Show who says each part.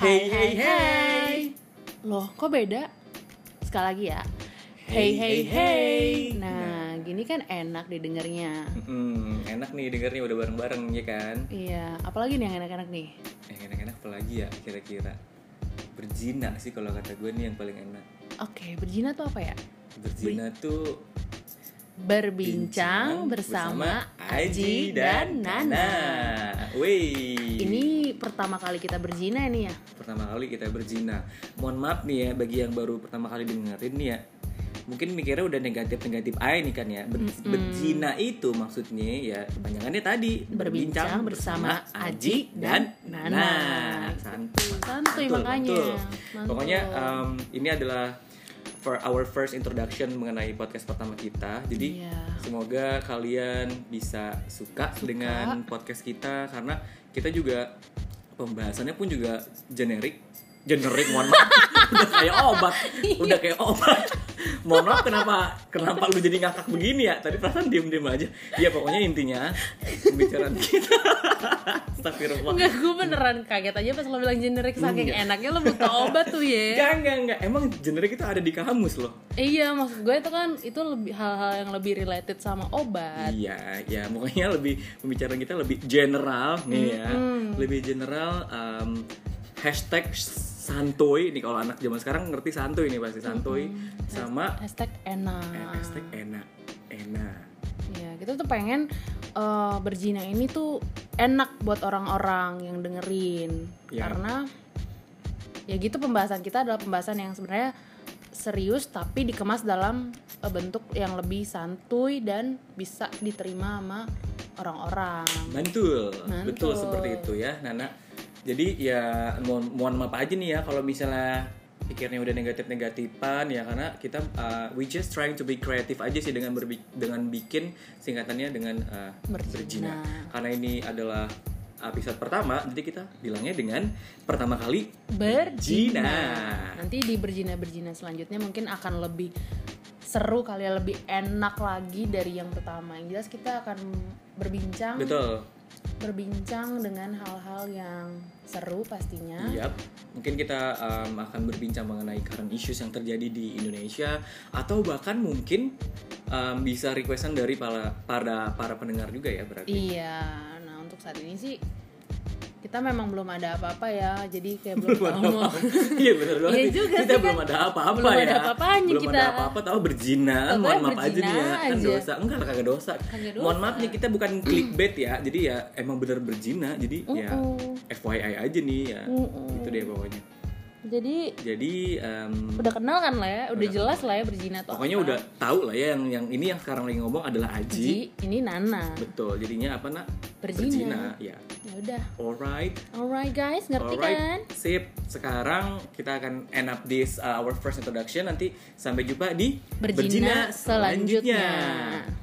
Speaker 1: Hey hey hey.
Speaker 2: Loh, kok beda? Sekali lagi ya.
Speaker 1: Hey,
Speaker 2: Hey
Speaker 1: hey,
Speaker 2: hey hey.
Speaker 1: hey.
Speaker 2: Nah, gini kan enak didengarnya.
Speaker 1: Hmm, enak nih dengernya udah bareng-bareng ya kan?
Speaker 2: Iya, apalagi nih yang enak-enak nih.
Speaker 1: Eh, enak-enak apalagi ya kira-kira? Berzina sih kalau kata gue nih yang paling enak.
Speaker 2: Oke, berjina tuh apa ya?
Speaker 1: Berzina tuh
Speaker 2: Berbincang bersama Aji dan Nana.
Speaker 1: Wih.
Speaker 2: Ini pertama kali kita berjina nih ya.
Speaker 1: pertama kali kita berzina. Mohon maaf nih ya bagi yang baru pertama kali dengerin nih ya. Mungkin mikirnya udah negatif-negatif aja nih kan ya. Ber- Berzina itu maksudnya ya kepanjangannya tadi
Speaker 2: Berbincang bersama Aji dan Nana.
Speaker 1: Santuy.
Speaker 2: Santuy
Speaker 1: Mantul,
Speaker 2: makanya.
Speaker 1: mantul.
Speaker 2: Mantul.
Speaker 1: Pokoknya eh, em, ini adalah for our first introduction mengenai podcast pertama kita. Jadi
Speaker 2: Iya.
Speaker 1: semoga kalian bisa suka, dengan podcast kita karena kita juga pembahasannya pun juga generik. Generik mohon maaf. udah kayak obat, udah kayak obat. mohon maaf kenapa kenapa lu jadi ngakak begini ya? Tadi perasaan diem-diem aja. Ya pokoknya intinya pembicaraan kita. Astagfirullah.
Speaker 2: Enggak, gue beneran kaget aja pas lo bilang generik saking enaknya lo butuh obat tuh ya.
Speaker 1: Enggak, enggak, enggak. Emang generik itu ada di kamus loh.
Speaker 2: iya, maksud gue itu kan itu lebih hal-hal yang lebih related sama obat.
Speaker 1: Iya, ya pokoknya lebih pembicaraan kita lebih general nih ya, lebih general em, hashtag santuy nih kalau anak zaman sekarang ngerti santuy nih pasti santuy sama eh,
Speaker 2: Hashtag enak.
Speaker 1: hashtag enak enak.
Speaker 2: Ya, kita tuh pengen eh, berzina ini tuh enak buat orang-orang yang dengerin.
Speaker 1: Ya.
Speaker 2: Karena ya gitu pembahasan kita adalah pembahasan yang sebenarnya serius tapi dikemas dalam eh, bentuk yang lebih santuy dan bisa diterima sama orang-orang.
Speaker 1: Mantul.
Speaker 2: Mantul.
Speaker 1: betul seperti itu ya Nana. Jadi ya mohon, mohon maaf aja nih ya kalau misalnya pikirnya udah negatif-negatifan ya karena kita uh, we just trying to be creative aja sih dengan berbi- dengan bikin singkatannya dengan uh,
Speaker 2: Berzina.
Speaker 1: Karena ini adalah episode pertama, jadi kita bilangnya dengan pertama kali
Speaker 2: Berjina. Nanti di berjina-berjina selanjutnya mungkin akan lebih seru kali ya, lebih enak lagi dari yang pertama. Yang jelas kita akan berbincang
Speaker 1: Betul.
Speaker 2: berbincang dengan hal-hal yang seru pastinya.
Speaker 1: Yap. Mungkin kita um, akan berbincang mengenai current issues yang terjadi di Indonesia atau bahkan mungkin um, bisa requestan dari para para para pendengar juga ya berarti.
Speaker 2: Iya. Nah, untuk saat ini sih kita memang belum ada apa-apa ya. Jadi kayak belum
Speaker 1: Belum ada
Speaker 2: tahu mau
Speaker 1: apa-apa. Iya benar banget.
Speaker 2: Iya juga
Speaker 1: kita
Speaker 2: sih,
Speaker 1: belum
Speaker 2: kan?
Speaker 1: ada apa-apa
Speaker 2: Belum
Speaker 1: ya.
Speaker 2: ada apa-apanya
Speaker 1: belum ada
Speaker 2: kita.
Speaker 1: apa-apa tahu berzina.
Speaker 2: Pokoknya
Speaker 1: Mohon maaf aja
Speaker 2: berzina
Speaker 1: nih ya. Kan
Speaker 2: aja.
Speaker 1: dosa. Enggak lah kagak dosa.
Speaker 2: Kagak dosa.
Speaker 1: Mohon maaf nih kita bukan clickbait ya. Jadi ya emang bener berzina. Jadi ya
Speaker 2: Uh-uh.
Speaker 1: FYI aja nih ya.
Speaker 2: Mm-mm.
Speaker 1: Itu deh pokoknya.
Speaker 2: Jadi
Speaker 1: Jadi em,
Speaker 2: udah kenal kan lah ya, udah
Speaker 1: Udah
Speaker 2: jelas lah ya berzina tuh.
Speaker 1: pokoknya
Speaker 2: apa.
Speaker 1: udah tahu lah ya yang yang ini yang sekarang lagi ngomong adalah Aji.
Speaker 2: Ji, ini Nana.
Speaker 1: Betul. Jadinya apa nak?
Speaker 2: Berzina.
Speaker 1: Ya.
Speaker 2: Ya udah.
Speaker 1: Alright.
Speaker 2: Alright guys, ngerti kan?
Speaker 1: Alright, sip. Sekarang kita akan end up this uh, our first introduction. Nanti sampai jumpa di
Speaker 2: Berjina selanjutnya.